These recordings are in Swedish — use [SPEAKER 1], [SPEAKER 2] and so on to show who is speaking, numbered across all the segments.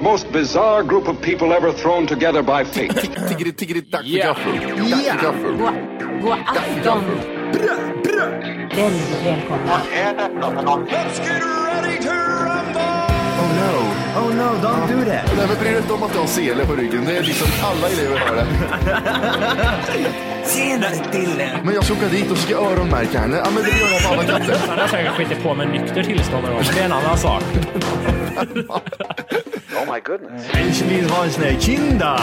[SPEAKER 1] most bizarre group of people ever thrown together by fate.
[SPEAKER 2] Tiggeri, tiggeri, dack för
[SPEAKER 3] Ja.
[SPEAKER 2] gaffel. Dack för gaffel.
[SPEAKER 4] God, god afton. Väldigt välkomna.
[SPEAKER 2] Oh no.
[SPEAKER 5] Oh no, don't do that.
[SPEAKER 2] Nej, men bry dig inte om att jag har sele på ryggen. Det är liksom alla elever har det.
[SPEAKER 5] Tjenare Dille!
[SPEAKER 2] Men jag ska åka dit och ska öronmärka henne. Ja, men det gör jag på alla katter.
[SPEAKER 3] Han har säkert skitit på med nykter tillstånd någon gång, men det är en annan sak.
[SPEAKER 5] Ich vill ha en sån här kinda.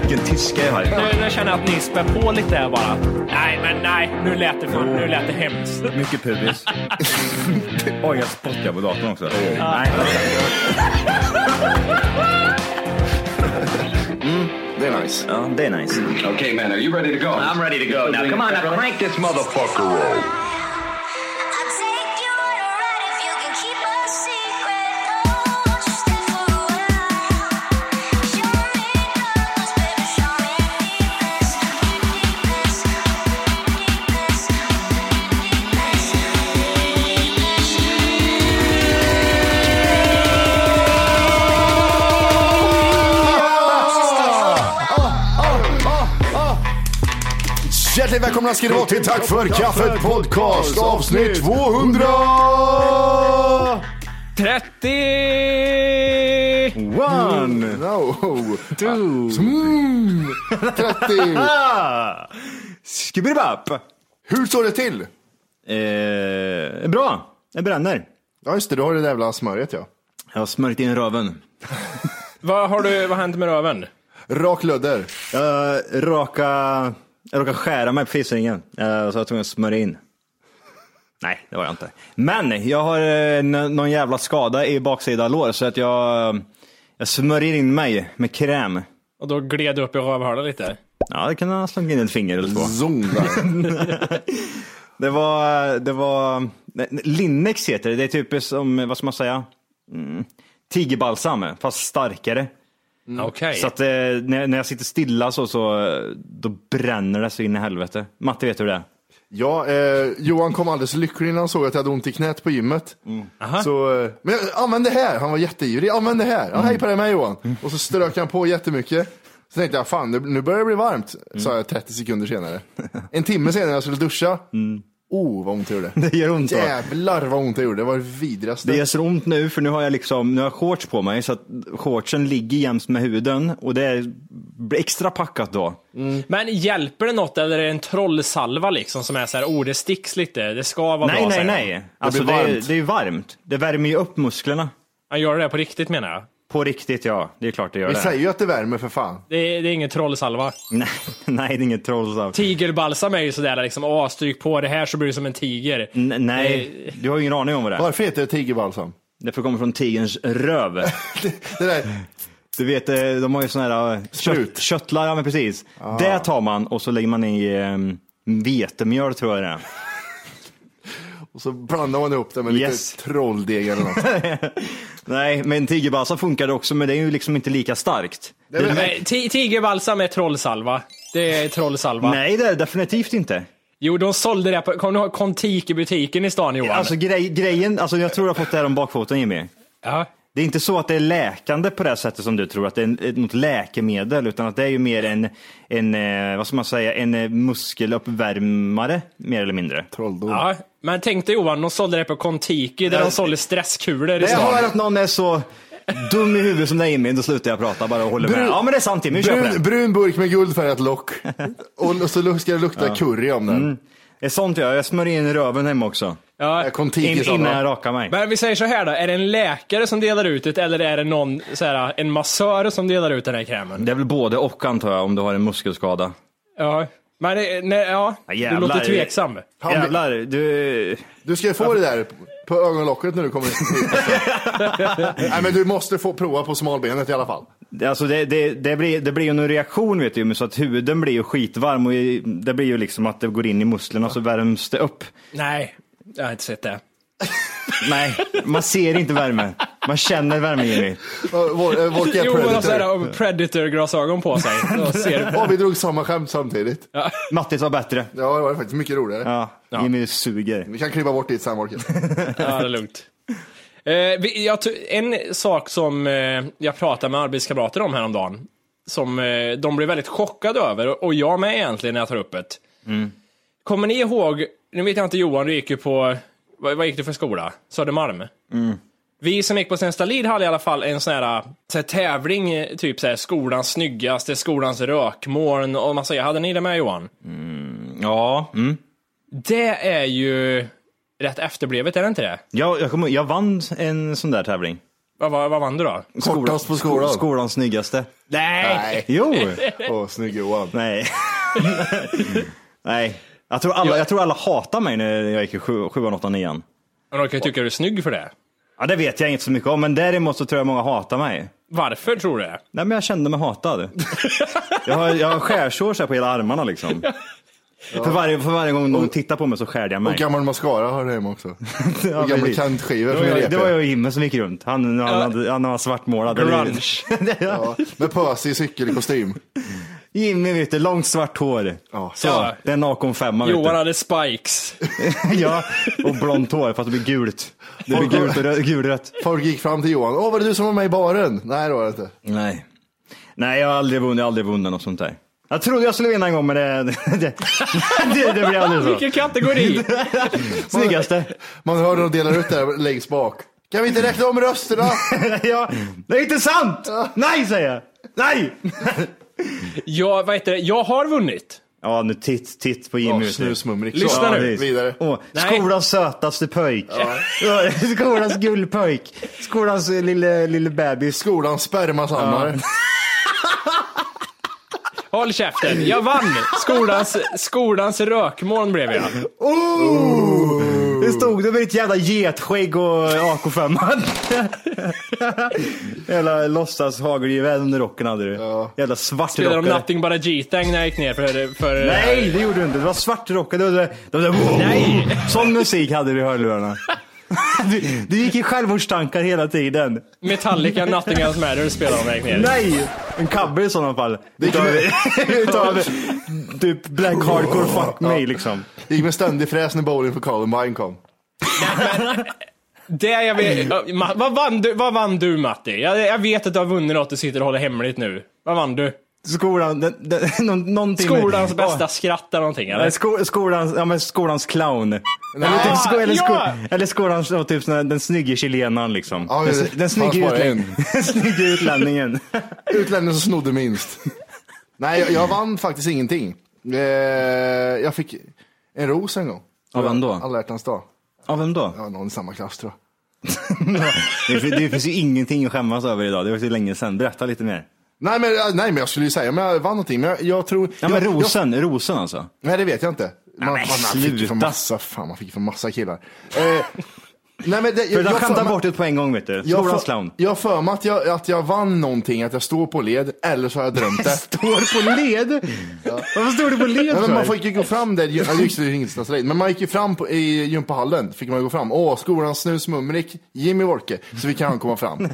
[SPEAKER 5] Vilken tyska jag har.
[SPEAKER 3] Nu, nu känner jag att ni spär på lite här bara. Nej, men nej. Nu lät det, fan, nu lät det hemskt.
[SPEAKER 6] Mycket pubis. Oj, jag spottar på datorn också. Nej.
[SPEAKER 2] Det är nice.
[SPEAKER 6] Ja, det är nice.
[SPEAKER 1] okay, man, are you ready to go?
[SPEAKER 6] I'm ready to go now. Come on, now crank this motherfucker roll.
[SPEAKER 7] I'll take you on a ride if you can keep a secret. Oh, just stay for a while. Show me colors, baby, show me deepest, deepest, deepest, deepest, deepest.
[SPEAKER 4] Ah!
[SPEAKER 2] Ah, Hjärtligt välkomna ska ni vara till Tack för kaffet podcast avsnitt 200!
[SPEAKER 3] 30!
[SPEAKER 5] One,
[SPEAKER 2] No!
[SPEAKER 5] two,
[SPEAKER 2] 30!
[SPEAKER 5] ah! Skibidibap!
[SPEAKER 2] Hur står det till?
[SPEAKER 6] Eh, bra, det bränner.
[SPEAKER 2] Ja just det, du har det där jävla smöret ja.
[SPEAKER 6] Jag har smörjt in röven.
[SPEAKER 3] Vad har du, vad hände med röven?
[SPEAKER 2] Rak lödder.
[SPEAKER 6] Jag råkade, jag råkade skära mig på fissringen, eh, så jag var tvungen att smörja in. Nej, det var jag inte. Men jag har eh, n- någon jävla skada i baksida lår så att jag, jag smörjer in mig med kräm.
[SPEAKER 3] Och då gled du upp i rövhålet lite.
[SPEAKER 6] Ja, det kan ha slagit in ett finger eller två.
[SPEAKER 2] Zong där.
[SPEAKER 6] Det var, det var, nej, Linnex heter det. Det är typ som, vad ska man säga? Mm, tigerbalsam, fast starkare.
[SPEAKER 3] Okej.
[SPEAKER 6] Så att eh, när, när jag sitter stilla så, så, eh, då bränner det så in i helvete. Matte vet hur det är.
[SPEAKER 2] Ja, eh, Johan kom alldeles lycklig när han såg att jag hade ont i knät på gymmet. Så, eh, men jag- använd det här! Han var jätteyvrig. Använd det här! Ja, hej på dig med Johan! Och så strök han på jättemycket. Så tänkte jag, fan det- nu börjar det bli varmt, sa jag 30 sekunder senare. En timme senare när jag skulle duscha. Oh, vad ont det gjorde.
[SPEAKER 6] Det gör ont va?
[SPEAKER 2] Jävlar vad ont det gjorde. Det var det vidrigaste.
[SPEAKER 6] Det gör så ont nu för nu har jag liksom, nu har jag shorts på mig så att shortsen ligger jämst med huden och det är blir extra packat då.
[SPEAKER 3] Men hjälper det något eller är det en trollsalva liksom som är så här, oh det sticks lite, det ska vara
[SPEAKER 6] nej,
[SPEAKER 3] bra.
[SPEAKER 6] nej,
[SPEAKER 3] säger
[SPEAKER 6] nej. Alltså det,
[SPEAKER 2] blir
[SPEAKER 6] är,
[SPEAKER 2] varmt.
[SPEAKER 6] det är ju varmt. Det värmer ju upp musklerna.
[SPEAKER 3] Han gör det på riktigt menar jag.
[SPEAKER 6] På riktigt ja, det är klart det gör
[SPEAKER 2] Vi
[SPEAKER 6] det.
[SPEAKER 2] säger ju att det värmer för fan.
[SPEAKER 3] Det är, det är ingen trollsalva.
[SPEAKER 6] Nej, nej, det är inget trollsamt.
[SPEAKER 3] Tigerbalsam är ju sådär liksom, åh stryk på det här så blir du som en tiger.
[SPEAKER 6] N- Nej, du har ju ingen aning om vad det är.
[SPEAKER 2] Varför heter det tigerbalsam?
[SPEAKER 6] Därför kommer från tigerns röv.
[SPEAKER 2] Det där,
[SPEAKER 6] Du vet, eh, de har ju sådana här eh,
[SPEAKER 2] Sprut.
[SPEAKER 6] kött, köttlar, ja men precis. Det tar man och så lägger man i ehm, vetemjöl tror jag det är.
[SPEAKER 2] och så blandar man ihop det med
[SPEAKER 6] Yes.
[SPEAKER 2] lite trolldeg eller något.
[SPEAKER 6] Nej, men tigerbalsam funkar det också, men det är ju liksom inte lika starkt. Det
[SPEAKER 2] väl-
[SPEAKER 3] Nej, ti- tigerbalsam är trollsalva. Det är trollsalva.
[SPEAKER 6] Nej, det är det definitivt inte.
[SPEAKER 3] Jo, de sålde det på, kommer du ihåg Kontiki-butiken i stan Johan?
[SPEAKER 6] Alltså grej, grejen, alltså jag tror jag har fått det här om bakfoten Jimmy.
[SPEAKER 3] ja.
[SPEAKER 6] Det är inte så att det är läkande på det här sättet som du tror, att det är en- ett- något läkemedel, utan att det är ju mer en, en eh, vad ska man säga, en eh, muskeluppvärmare, mer eller mindre.
[SPEAKER 2] Trolldom.
[SPEAKER 3] ja. Men tänk dig Johan, de sålde det på Kontiki där de sålde stresskulor i
[SPEAKER 6] Jag hör
[SPEAKER 3] stan.
[SPEAKER 6] att någon är så dum i huvudet som dig Jimmy, då slutar jag prata bara och håller med.
[SPEAKER 2] Brun-
[SPEAKER 6] Ja men det är sant Jimmy, vi kör på
[SPEAKER 2] Brun,
[SPEAKER 6] det.
[SPEAKER 2] brun burk med guldfärgat lock. Och så lu- ska det lukta curry om den.
[SPEAKER 6] Mm. Det är sånt jag gör. jag smörjer in röven hemma också.
[SPEAKER 3] Ja.
[SPEAKER 2] Jag kom
[SPEAKER 6] In,
[SPEAKER 2] tidigt
[SPEAKER 6] innan jag
[SPEAKER 2] in,
[SPEAKER 6] rakar mig.
[SPEAKER 3] Men vi säger så här då, är det en läkare som delar ut det eller är det någon, så här, en massör som delar ut den här krämen?
[SPEAKER 6] Det är väl både och antar jag om du har en muskelskada.
[SPEAKER 3] Ja. Men det- nej, ja,
[SPEAKER 6] Ja,
[SPEAKER 3] du
[SPEAKER 6] jävlar.
[SPEAKER 3] låter tveksam.
[SPEAKER 6] Jävlar, du...
[SPEAKER 2] Du ska ju få det där på ögonlocket när du kommer hit. Nej men du måste få prova på smalbenet i alla fall.
[SPEAKER 6] Alltså det, det, det, blir, det blir ju en reaktion vet du Jimmy, så att huden blir ju skitvarm och i- det blir ju liksom att det går in i musklerna och så värms det upp.
[SPEAKER 3] Nej, jag har inte sett det.
[SPEAKER 6] Nej, man ser inte värme. Man känner värme Jimmy.
[SPEAKER 2] Vår, vår, vår
[SPEAKER 3] Jo, men har
[SPEAKER 2] predator.
[SPEAKER 3] sådär predator-glasögon på sig. Då ser du.
[SPEAKER 2] Åh, vi drog samma skämt samtidigt. Ja.
[SPEAKER 6] Mattis var bättre.
[SPEAKER 2] det var faktiskt mycket roligare.
[SPEAKER 6] Ja, Jimmy suger.
[SPEAKER 2] Vi kan klippa bort ditt sen Morken.
[SPEAKER 3] Ja, det är lugnt. Eh, vi- jag, ty- en sak som eh, jag pratade med arbetskamrater om häromdagen, som eh, de blev väldigt chockade över, och- och jag med egentligen när jag tar upp det.
[SPEAKER 6] Mm.
[SPEAKER 3] Kommer ni ihåg, nu vet jag inte Johan, du gick ju på, vad, vad gick du för skola? Södermalm?
[SPEAKER 6] Mm.
[SPEAKER 3] Vi som gick på Senstalid hade i alla fall en sån här, så här tävling, eh, typ så här, skolans snyggaste, skolans rökmoln och massa Hade ni det med Johan?
[SPEAKER 6] Ja. Mm.
[SPEAKER 3] Det är ju rätt efterblivet, är det inte det?
[SPEAKER 6] Jag, jag, kommer- jag vann en sån där tävling.
[SPEAKER 3] Vad, vad, vad vann du då?
[SPEAKER 2] Kortast på skolan.
[SPEAKER 6] Skolans snyggaste.
[SPEAKER 3] Nej!
[SPEAKER 6] Jo!
[SPEAKER 2] Åh, snygg Johan.
[SPEAKER 6] Nej. Nej. Jag tror, alla, jag tror alla hatar mig när jag gick i sju- sjuan, åttan, nian.
[SPEAKER 3] Men de kan ju tycka du är snygg för det.
[SPEAKER 6] Ja, det vet jag inte så mycket om, men däremot så tror jag många hatar mig.
[SPEAKER 3] Varför tror du det?
[SPEAKER 6] Nej, men jag kände mig hatad. jag, har, jag har skärsår så här på hela armarna liksom. För, varje, för varje gång någon tittar på mig så skär jag mig.
[SPEAKER 2] Och gammal mascara har du hemma också.
[SPEAKER 6] Ja,
[SPEAKER 2] Och gamla
[SPEAKER 6] precis.
[SPEAKER 2] kantskivor
[SPEAKER 6] det,
[SPEAKER 2] från
[SPEAKER 6] var, det var
[SPEAKER 2] repet.
[SPEAKER 6] jag och Jimmy som gick runt. Han, han, hade, han var svartmålad.
[SPEAKER 3] Grunge.
[SPEAKER 2] Ja, med pösig cykelkostym.
[SPEAKER 6] Jimmy vet du, långt svart hår.
[SPEAKER 2] Ja.
[SPEAKER 6] Så,
[SPEAKER 3] Ja.
[SPEAKER 6] det är en Acon 5 vet
[SPEAKER 3] Johan
[SPEAKER 6] du.
[SPEAKER 3] hade spikes.
[SPEAKER 6] ja, och blont hår fast det blir gult. Det blir gult och rö- gulrött.
[SPEAKER 2] Folk gick fram till Johan. Åh, var det du som var med i baren? Nej, det var det inte.
[SPEAKER 6] Nej. Nej, jag har aldrig vunnit, jag har aldrig vunnit något sånt där. Jag trodde jag skulle vinna en gång men det, det, det, det, det blir aldrig så.
[SPEAKER 3] Vilken kategori!
[SPEAKER 6] Snyggaste.
[SPEAKER 2] Man hör dem dela ut det här längst bak. Kan vi inte räkna om rösterna?
[SPEAKER 6] ja, det är inte sant! Nej säger jag! Nej!
[SPEAKER 3] Jag, vad heter det? jag har vunnit.
[SPEAKER 6] Ja nu titt, titt på
[SPEAKER 2] Ja,
[SPEAKER 6] Jimmy. vet du.
[SPEAKER 2] Snusmumrik.
[SPEAKER 3] Lyssna
[SPEAKER 2] Så,
[SPEAKER 3] nu.
[SPEAKER 2] ja,
[SPEAKER 6] precis.
[SPEAKER 2] Vidare.
[SPEAKER 6] Åh,
[SPEAKER 3] Nej.
[SPEAKER 6] skolans sötaste pojk. skolans gullpojk. Skolans eh, lille, lille bebis.
[SPEAKER 2] Skolans spermasamlare.
[SPEAKER 3] Håll käften, jag vann! Skolans, skolans rökmoln blev jag.
[SPEAKER 6] Oh! Det stod det med ditt jävla getskägg och AK5. jävla låtsas hagelgevär under rocken hade du. Jävla
[SPEAKER 3] Spelade de
[SPEAKER 6] svartrockare.
[SPEAKER 3] Nothing But A G-Tang när jag gick ner för... för eh,
[SPEAKER 6] Nej, det gjorde du inte. Det var svartrockare. Det var, det var, det var,
[SPEAKER 3] Nej.
[SPEAKER 6] Sån musik hade du i hörlurarna. du, du gick i självmordstankar hela tiden.
[SPEAKER 3] Metallica Nothing Else Matters spelade de när jag gick ner.
[SPEAKER 6] Nej! En cover i sådana fall. Utav, utav typ black hardcore fuck me liksom.
[SPEAKER 2] Gick med ständig fräs när bowling för Columbine kom.
[SPEAKER 3] Det jag vet, Ja, Ma- vad, vann du, vad vann du Matti? Jag, jag vet att du har vunnit något du sitter och håller hemligt nu. Vad vann du?
[SPEAKER 6] Skolan, den, den, nå- någonting med-
[SPEAKER 3] Skolans bästa
[SPEAKER 6] Ja,
[SPEAKER 3] skratt eller någonting
[SPEAKER 6] nej,
[SPEAKER 3] eller?
[SPEAKER 6] sko, skolans, ja, men skolans clown. Eller, typ, sko, eller, sko,
[SPEAKER 3] ja!
[SPEAKER 6] eller skolans, ja, typ, sån här- den snygge chilenaren liksom.
[SPEAKER 2] Ja, men
[SPEAKER 6] den,
[SPEAKER 2] det
[SPEAKER 6] den, snygge
[SPEAKER 2] fanns bara
[SPEAKER 6] utlän,
[SPEAKER 2] en.
[SPEAKER 6] den snygge utlänningen.
[SPEAKER 2] Utlänningen som snodde minst. Nej, jag, jag vann faktiskt ingenting. Eh, jag fick en ros en gång.
[SPEAKER 6] Av vem då?
[SPEAKER 2] Alla hjärtans dag.
[SPEAKER 6] Ja, vem då?
[SPEAKER 2] Det var någon i samma klass tror jag.
[SPEAKER 6] Det, fin- det finns ju ingenting att skämmas över idag. Det var så länge sedan. Berätta lite mer.
[SPEAKER 2] Nej men, nej, men jag skulle ju säga, men jag vann någonting. Men jag, jag tror...
[SPEAKER 6] Ja, men
[SPEAKER 2] jag, jag,
[SPEAKER 6] rosen, rosen alltså.
[SPEAKER 2] nej, det vet jag inte. Man,
[SPEAKER 6] men
[SPEAKER 2] man fick ju
[SPEAKER 6] sluta.
[SPEAKER 2] för massa, fan man fick ju för massa killar. Eh, nej, men det,
[SPEAKER 6] För
[SPEAKER 2] jag-
[SPEAKER 6] jag
[SPEAKER 2] jag
[SPEAKER 6] skämtar
[SPEAKER 2] för-
[SPEAKER 6] bort det på en gång vet du.
[SPEAKER 2] jag
[SPEAKER 6] Skolans
[SPEAKER 2] för-
[SPEAKER 6] clown.
[SPEAKER 2] Jag har för mig att jag, att jag vann någonting, att jag står på led, eller så har jag drömt det.
[SPEAKER 6] Står på led? Varför står du på led
[SPEAKER 2] Nej,
[SPEAKER 6] för?
[SPEAKER 2] men man fick ju gå fram där, jag gick till Ringstads raid, men man gick ju fram på, i gympahallen, fick man ju gå fram. Åh, skolans snus mumrik, Jimmy Wolke, så vi kan komma fram.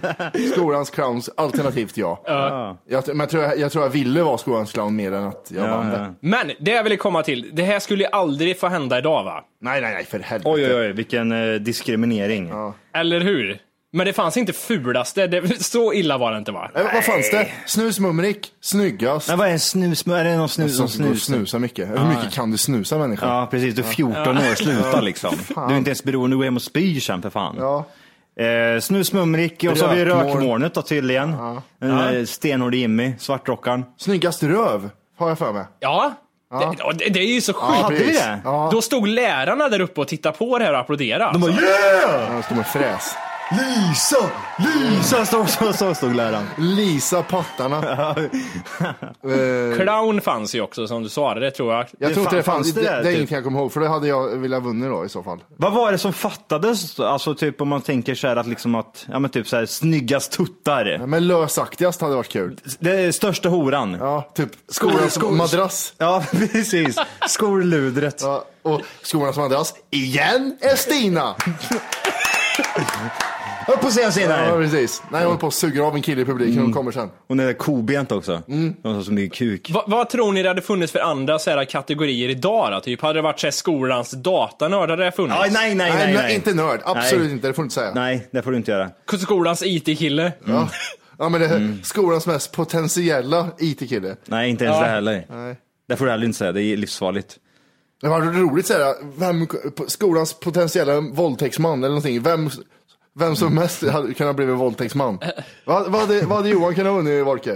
[SPEAKER 2] Skolans clowns, alternativt jag. Jag, men jag, tror jag, jag tror jag ville vara skolans clown mer än att jag vann det.
[SPEAKER 3] Men det jag ville komma till, det här skulle ju aldrig få hända idag va?
[SPEAKER 2] Nej, nej, nej, för helvete.
[SPEAKER 6] Oj, oj, oj, vilken eh, diskriminering.
[SPEAKER 3] Eller hur? Men det fanns inte fulaste, det, så illa var det inte va?
[SPEAKER 2] Eh, vad fanns det? Snus mumrik, snyggast.
[SPEAKER 6] Men vad är en snus? Är det någon snus
[SPEAKER 2] som
[SPEAKER 6] som
[SPEAKER 2] snusar
[SPEAKER 6] snus?
[SPEAKER 2] snusa mycket. Hur mycket kan du snusa människa?
[SPEAKER 6] Ja, precis. Du är 14 år, sluta liksom. Du är inte ens beroende, du går hem och spyr sen för fan.
[SPEAKER 2] Ja.
[SPEAKER 6] Eh, snus, mumrik och så har vi
[SPEAKER 2] Rökmoln.
[SPEAKER 6] rökmolnet då tydligen. Ja. Eh, Stenhård Jimmy, svartrockaren.
[SPEAKER 2] Snyggast röv, har jag för mig.
[SPEAKER 3] Ja, det, ja, det, det är ju så sjukt.
[SPEAKER 2] Ja,
[SPEAKER 6] hade vi
[SPEAKER 2] precis.
[SPEAKER 6] det?
[SPEAKER 2] Ja,
[SPEAKER 3] Då stod lärarna där uppe och tittade på det här och applåderade.
[SPEAKER 6] De bara yeah!
[SPEAKER 2] han står med fräs.
[SPEAKER 6] Lisa! Lisa! Så, så, så stod läraren.
[SPEAKER 2] Lisa pattarna.
[SPEAKER 3] Alltså, Clown fanns ju också som du sa, det tror jag.
[SPEAKER 2] Jag
[SPEAKER 6] Det
[SPEAKER 2] tror inte det
[SPEAKER 6] fan-
[SPEAKER 2] fanns.
[SPEAKER 6] fanns det
[SPEAKER 2] Det, det
[SPEAKER 6] där,
[SPEAKER 2] är
[SPEAKER 6] typ?
[SPEAKER 2] ingenting jag kommer ihåg, för det hade jag velat vunnit då i så fall.
[SPEAKER 6] Vad var det som fattades? Alltså typ om man tänker så här att liksom att, ja men typ så här snyggast tuttar.
[SPEAKER 2] Men lösaktigast hade varit kul.
[SPEAKER 6] Det är största horan.
[SPEAKER 2] Ja, typ skolans
[SPEAKER 6] skol-
[SPEAKER 2] madrass.
[SPEAKER 6] Ja, precis. Skoludret.
[SPEAKER 2] Ja, och skolans madrass, igen är Stina.
[SPEAKER 6] Upp på scen Mm.
[SPEAKER 2] Ja,
[SPEAKER 6] Sinner!
[SPEAKER 2] precis. Nej, jag håller på att suga av en kille i publiken och kommer sen.
[SPEAKER 6] Hon är kobent också. De har så mycket kuk.
[SPEAKER 3] Va, vad tror ni det hade funnits för andra så här, kategorier idag då? Typ, hade det varit så här, skolans datanördar det hade funnits?
[SPEAKER 6] Aj, nej, nej,
[SPEAKER 2] Nej,
[SPEAKER 6] nej,
[SPEAKER 2] nej,
[SPEAKER 6] nej.
[SPEAKER 2] inte nörd. Absolut
[SPEAKER 6] Nej.
[SPEAKER 2] inte, det får du inte säga.
[SPEAKER 6] Nej, det får du inte göra.
[SPEAKER 3] Skolans IT-kille?
[SPEAKER 2] Ja. ja, men det är
[SPEAKER 6] Mm.
[SPEAKER 2] skolans mest potentiella IT-kille.
[SPEAKER 6] Nej, inte ens
[SPEAKER 3] Ja.
[SPEAKER 6] det heller.
[SPEAKER 2] Nej.
[SPEAKER 6] Det får du heller inte säga, det är livsfarligt.
[SPEAKER 2] Det var roligt såhär, vem, skolans potentiella våldtäktsman eller någonting, vem, vem som mest hade, kan ha blivit våldtäktsman? Vad, vad, hade, vad hade Johan kunnat ha vunnit Wolke?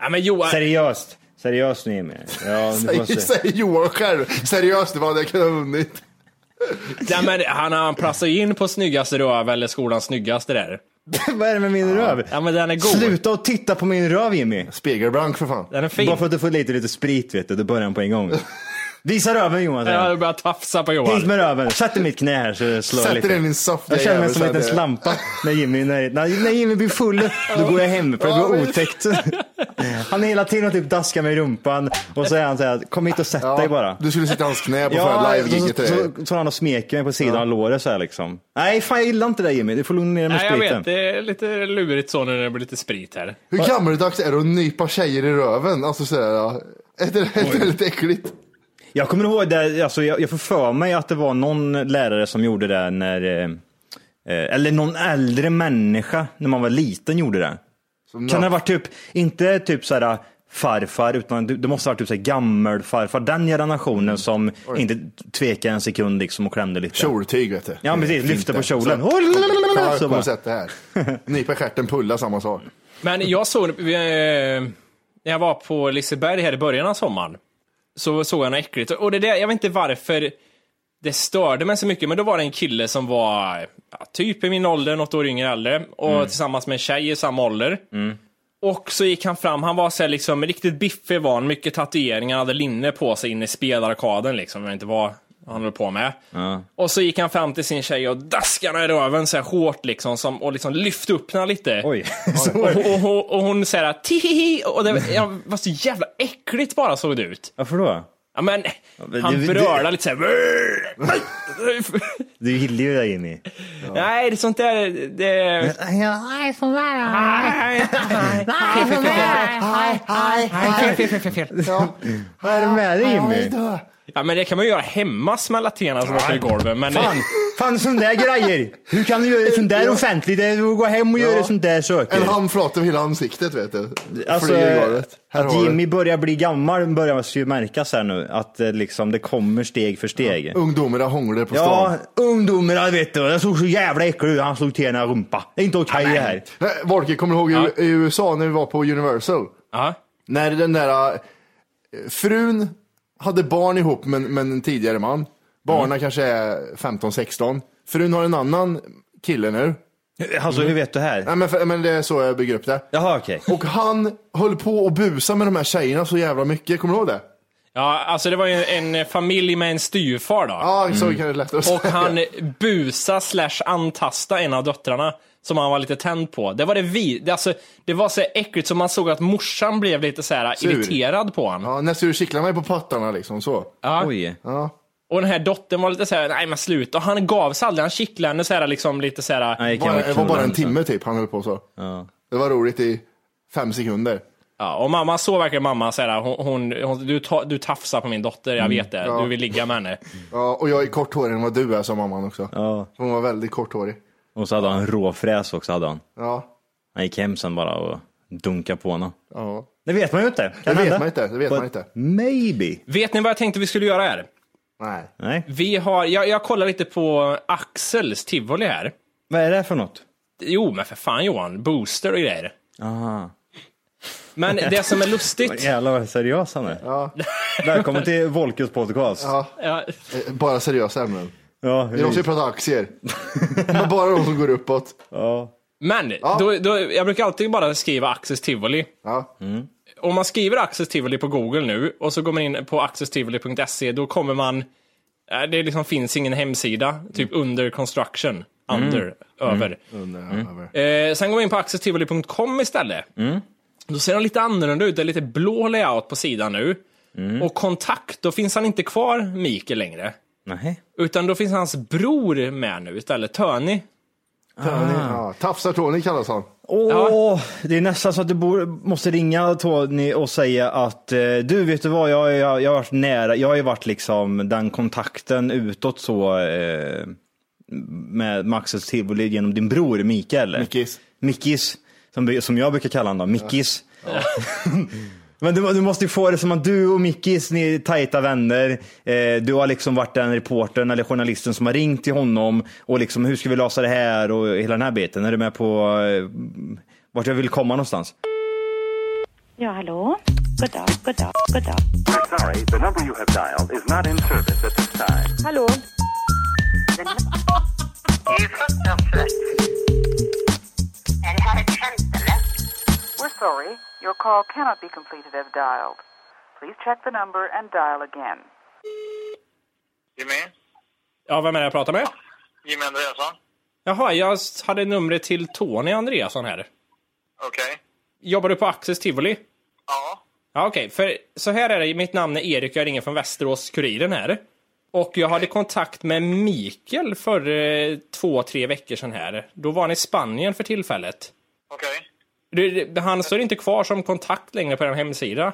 [SPEAKER 3] Nej men Johan,
[SPEAKER 6] Seriöst. Seriöst ni är med. Ja, nu får
[SPEAKER 2] Säger
[SPEAKER 6] jag se.
[SPEAKER 2] säger Johan själv, seriöst vad hade jag kunnat ha vunnit?
[SPEAKER 3] nej, men, han, han prassar ju in på snyggaste röv eller skolans snyggaste där.
[SPEAKER 6] Vad är det med min röv?
[SPEAKER 3] Ja men den är god.
[SPEAKER 6] Sluta och titta på min röv Jimmy.
[SPEAKER 2] Spegelblank för fan.
[SPEAKER 3] Den är fin.
[SPEAKER 6] Bara för att du får lite, lite sprit vet du, då börjar han på en gång. Visa röven Johan säger
[SPEAKER 3] Jag
[SPEAKER 6] han.
[SPEAKER 3] hade börjat tafsa på
[SPEAKER 6] Hit
[SPEAKER 3] Johan.
[SPEAKER 6] med röven, sätt i mitt knä här så det slår
[SPEAKER 2] Sätt
[SPEAKER 6] lite.
[SPEAKER 2] den i din saftiga
[SPEAKER 6] Jag känner mig
[SPEAKER 2] jävel,
[SPEAKER 6] som en liten
[SPEAKER 2] säger jag.
[SPEAKER 6] slampa när Jimmy, när, när, när Jimmy blir full. Då går jag hem för det blir otäckt. Han är hela tiden och typ daskar mig i rumpan och så är han såhär, kom hit och sätt dig bara.
[SPEAKER 2] Du skulle sitta i hans knä på förra
[SPEAKER 6] Ja, så,
[SPEAKER 2] live-giget
[SPEAKER 6] så,
[SPEAKER 2] till dig.
[SPEAKER 6] så, så han och smeker mig på sidan av låret såhär liksom. Nej fan jag gillar inte det Jimmy, du får lugna ner dig med
[SPEAKER 3] Nej jag vet,
[SPEAKER 6] spriten.
[SPEAKER 3] det är lite lurigt så nu när det blir lite sprit här.
[SPEAKER 2] Hur gammaldags är det att nypa tjejer i röven? Alltså sådär, ja. Är det, är det lite äckligt?
[SPEAKER 6] Jag kommer ihåg det, alltså, jag, jag får för mig att det var någon lärare som gjorde det när, eh, eh, eller någon äldre människa när man var liten gjorde det. Kan det ha varit typ, inte typ såhär farfar, utan det det måste ha varit typ såhär gammelfarfar, den generationen
[SPEAKER 2] Mm.
[SPEAKER 6] som inte tvekade en sekund liksom och klämde lite.
[SPEAKER 2] Kjoltyg vet du.
[SPEAKER 6] Ja precis, lyfte på kjolen. Oh,
[SPEAKER 2] Ja,
[SPEAKER 6] Så
[SPEAKER 2] kom
[SPEAKER 6] bara.
[SPEAKER 2] och sätt det här. Nypa stjärten, pulla, samma sak.
[SPEAKER 3] Men jag såg, eh, när jag var på Liseberg här i början av sommaren, så såg jag något äckligt. Och det där, jag vet inte varför det störde mig så mycket, men då var det en kille som var ja, typ i min ålder, något år yngre äldre, och tillsammans med en tjej i samma ålder. Och så gick han fram, han var så här liksom riktigt biffig var han, mycket tatueringar, hade linne på sig inne i spelarkaden liksom, jag vet inte vad han höll på med. Och så gick han fram till sin tjej och daskade henne i röven så här hårt liksom, som, och liksom lyfte upp henne lite.
[SPEAKER 6] Oj.
[SPEAKER 3] Och, och, och, och hon säger tihihi, och det ja, var så jävla äckligt bara såg det ut.
[SPEAKER 6] Varför då?
[SPEAKER 3] Ja, men,
[SPEAKER 6] men
[SPEAKER 3] han
[SPEAKER 6] det-
[SPEAKER 3] brölade lite såhär.
[SPEAKER 6] Du gillar ju det Jimmy.
[SPEAKER 3] Nej, det är sånt där, det... Nej,
[SPEAKER 2] Ja.
[SPEAKER 6] Vad är det med dig
[SPEAKER 2] Oj
[SPEAKER 6] Jimmy?
[SPEAKER 2] då.
[SPEAKER 3] Ja, men det kan man ju göra hemma, smälla tena som åker i golvet. Men
[SPEAKER 6] Fan, fan sån där grejer. Hur kan du göra sån där offentligt? Du går hem och gör
[SPEAKER 2] Ja.
[SPEAKER 6] sån där
[SPEAKER 2] En
[SPEAKER 6] saker.
[SPEAKER 2] handflat över hela ansiktet vet du.
[SPEAKER 6] Alltså,
[SPEAKER 2] Flyger i golvet. Här
[SPEAKER 6] att
[SPEAKER 2] har
[SPEAKER 6] Jimmy
[SPEAKER 2] du.
[SPEAKER 6] börjar bli gammal börjar man ju märka så här nu. Att eh, liksom, det kommer steg för steg. Ja,
[SPEAKER 2] Ungdomarna hånglar på stan.
[SPEAKER 6] ungdomarna vet du. Jag såg så jävla äcklig ut. Han slog till henne i rumpa. Det är inte okej det här.
[SPEAKER 2] Nej, Eh, Volker, kommer du ihåg i-
[SPEAKER 3] Ja.
[SPEAKER 2] i USA när vi var på Universal?
[SPEAKER 3] ja.
[SPEAKER 2] När den där eh, frun hade barn ihop med, med en tidigare man. Barnen
[SPEAKER 6] Mm.
[SPEAKER 2] kanske är 15-16. Frun har en annan kille nu.
[SPEAKER 6] Alltså, hur vet du här?
[SPEAKER 2] Nej, men, för, men det är så jag bygger upp det.
[SPEAKER 6] Jaha, okej.
[SPEAKER 2] Och han höll på och busa med de här tjejerna så jävla mycket. Kommer du ihåg det?
[SPEAKER 3] ja, alltså det var ju en, en familj med en styvfar då.
[SPEAKER 2] Ja, så
[SPEAKER 6] Mm.
[SPEAKER 2] kan det lättare att
[SPEAKER 3] Och
[SPEAKER 2] säga.
[SPEAKER 3] han busa slash antasta en av döttrarna som han var lite tänd på. Det var det vi, det, alltså, det var så äckligt som man såg att morsan blev lite så här
[SPEAKER 2] Sur.
[SPEAKER 3] irriterad på honom.
[SPEAKER 2] Ja, nästan du kittlar mig på pattarna liksom så.
[SPEAKER 3] Ja.
[SPEAKER 6] Oj.
[SPEAKER 3] Och den här dottern var lite så här, nej men sluta. Och han gav sig aldrig, han kittlade henne så här liksom lite så här.
[SPEAKER 6] Nej,
[SPEAKER 2] Bara,
[SPEAKER 6] jag
[SPEAKER 2] det var bara en timme typ han höll på så. Det var roligt i fem sekunder.
[SPEAKER 3] Ja, och mamma, så verkar mamma så här, hon, hon, hon, du, ta, du tafsar på min dotter, jag vet det. Du vill ligga med henne.
[SPEAKER 2] Ja, och jag är korthårig än vad du är, sa mamman också.
[SPEAKER 6] Ja.
[SPEAKER 2] Hon var väldigt korthårig.
[SPEAKER 6] Och så hade han en råfräs också. Hade han.
[SPEAKER 2] Ja,
[SPEAKER 6] han gick hem sen bara och dunkade på henne.
[SPEAKER 2] ja.
[SPEAKER 6] Det vet man ju inte. Kan
[SPEAKER 2] Det vet
[SPEAKER 6] hända.
[SPEAKER 2] man inte, det vet
[SPEAKER 6] But
[SPEAKER 2] man inte.
[SPEAKER 6] Maybe.
[SPEAKER 3] Vet ni vad jag tänkte vi skulle göra här?
[SPEAKER 2] Nej.
[SPEAKER 6] Nej.
[SPEAKER 3] Vi har, jag, jag kollar lite på Axels tivoli här.
[SPEAKER 6] Vad är det för något?
[SPEAKER 3] Jo, men för fan Johan, booster och grejer.
[SPEAKER 6] Aha.
[SPEAKER 3] Men det som är lustigt,
[SPEAKER 6] Jävlar vad seriös han är. Ja. Välkommen till Volkes podcast. Ja.
[SPEAKER 3] ja,
[SPEAKER 2] Eh, Bara seriösa ämnen. Vi måste ju
[SPEAKER 6] hur-
[SPEAKER 2] prata aktier. Men bara de som går uppåt.
[SPEAKER 6] ja.
[SPEAKER 3] men då, då, jag brukar alltid bara skriva Axels tivoli.
[SPEAKER 2] Ja.
[SPEAKER 3] Om man skriver Access Tivoli på Google nu och så går man in på accesstivoli.se, då kommer man... eh, Det liksom finns ingen hemsida, typ under construction. Under, över.
[SPEAKER 2] Mm. över. Mm.
[SPEAKER 3] Eh, sen går vi in på accesstivoli.com istället. Då ser den lite annorlunda ut, det är lite blå layout på sidan nu.
[SPEAKER 2] Mm.
[SPEAKER 3] Och kontakt, då finns han inte kvar, Mikael, längre.
[SPEAKER 6] Nej.
[SPEAKER 3] Utan då finns hans bror med nu istället, Töni.
[SPEAKER 2] Tony. Ja, Tafsar Tony kallas han.
[SPEAKER 6] Åh, det är nästan så att du bor, måste ringa Tony och säga att eh, du, vet du vad, jag, jag, jag har varit nära, jag har ju varit liksom den kontakten utåt så eh, med Maxes Tivoli genom din bror Mikael.
[SPEAKER 2] Mickis.
[SPEAKER 6] Mickis, som, vi- som jag brukar kalla honom då, Mickis. Men du, du måste ju få det som att du och Mickis, ni är tajta vänner. Eh, du har liksom varit den reportern eller journalisten som har ringt till honom och liksom hur ska vi lösa det här och hela den här biten. Är du med på eh, vart jag vill komma någonstans?
[SPEAKER 8] Ja, hallå? God dag, god dag, god dag.
[SPEAKER 9] Sorry, the number you have dialed is not in service at this time.
[SPEAKER 8] Hallå?
[SPEAKER 10] We're sorry. Your call cannot be completed as dialed. Please check the number and dial again.
[SPEAKER 9] Jimmy?
[SPEAKER 3] Ja, vem är det jag pratar med?
[SPEAKER 9] Jimmy Andreasson?
[SPEAKER 3] Jaha, jag hade numret till Tony Andreasson här.
[SPEAKER 9] Okej.
[SPEAKER 3] Jobbar du på Access Tivoli?
[SPEAKER 9] Ja.
[SPEAKER 3] Ja, okej. För så här är det. Mitt namn är Erik och jag ringer från Västerås-Kuriren här. Och jag hade kontakt med Mikael för eh, två, tre veckor sedan här. Då var han i Spanien för tillfället.
[SPEAKER 9] Okej.
[SPEAKER 3] Du, du, Han står inte kvar som kontakt längre på den hemsida.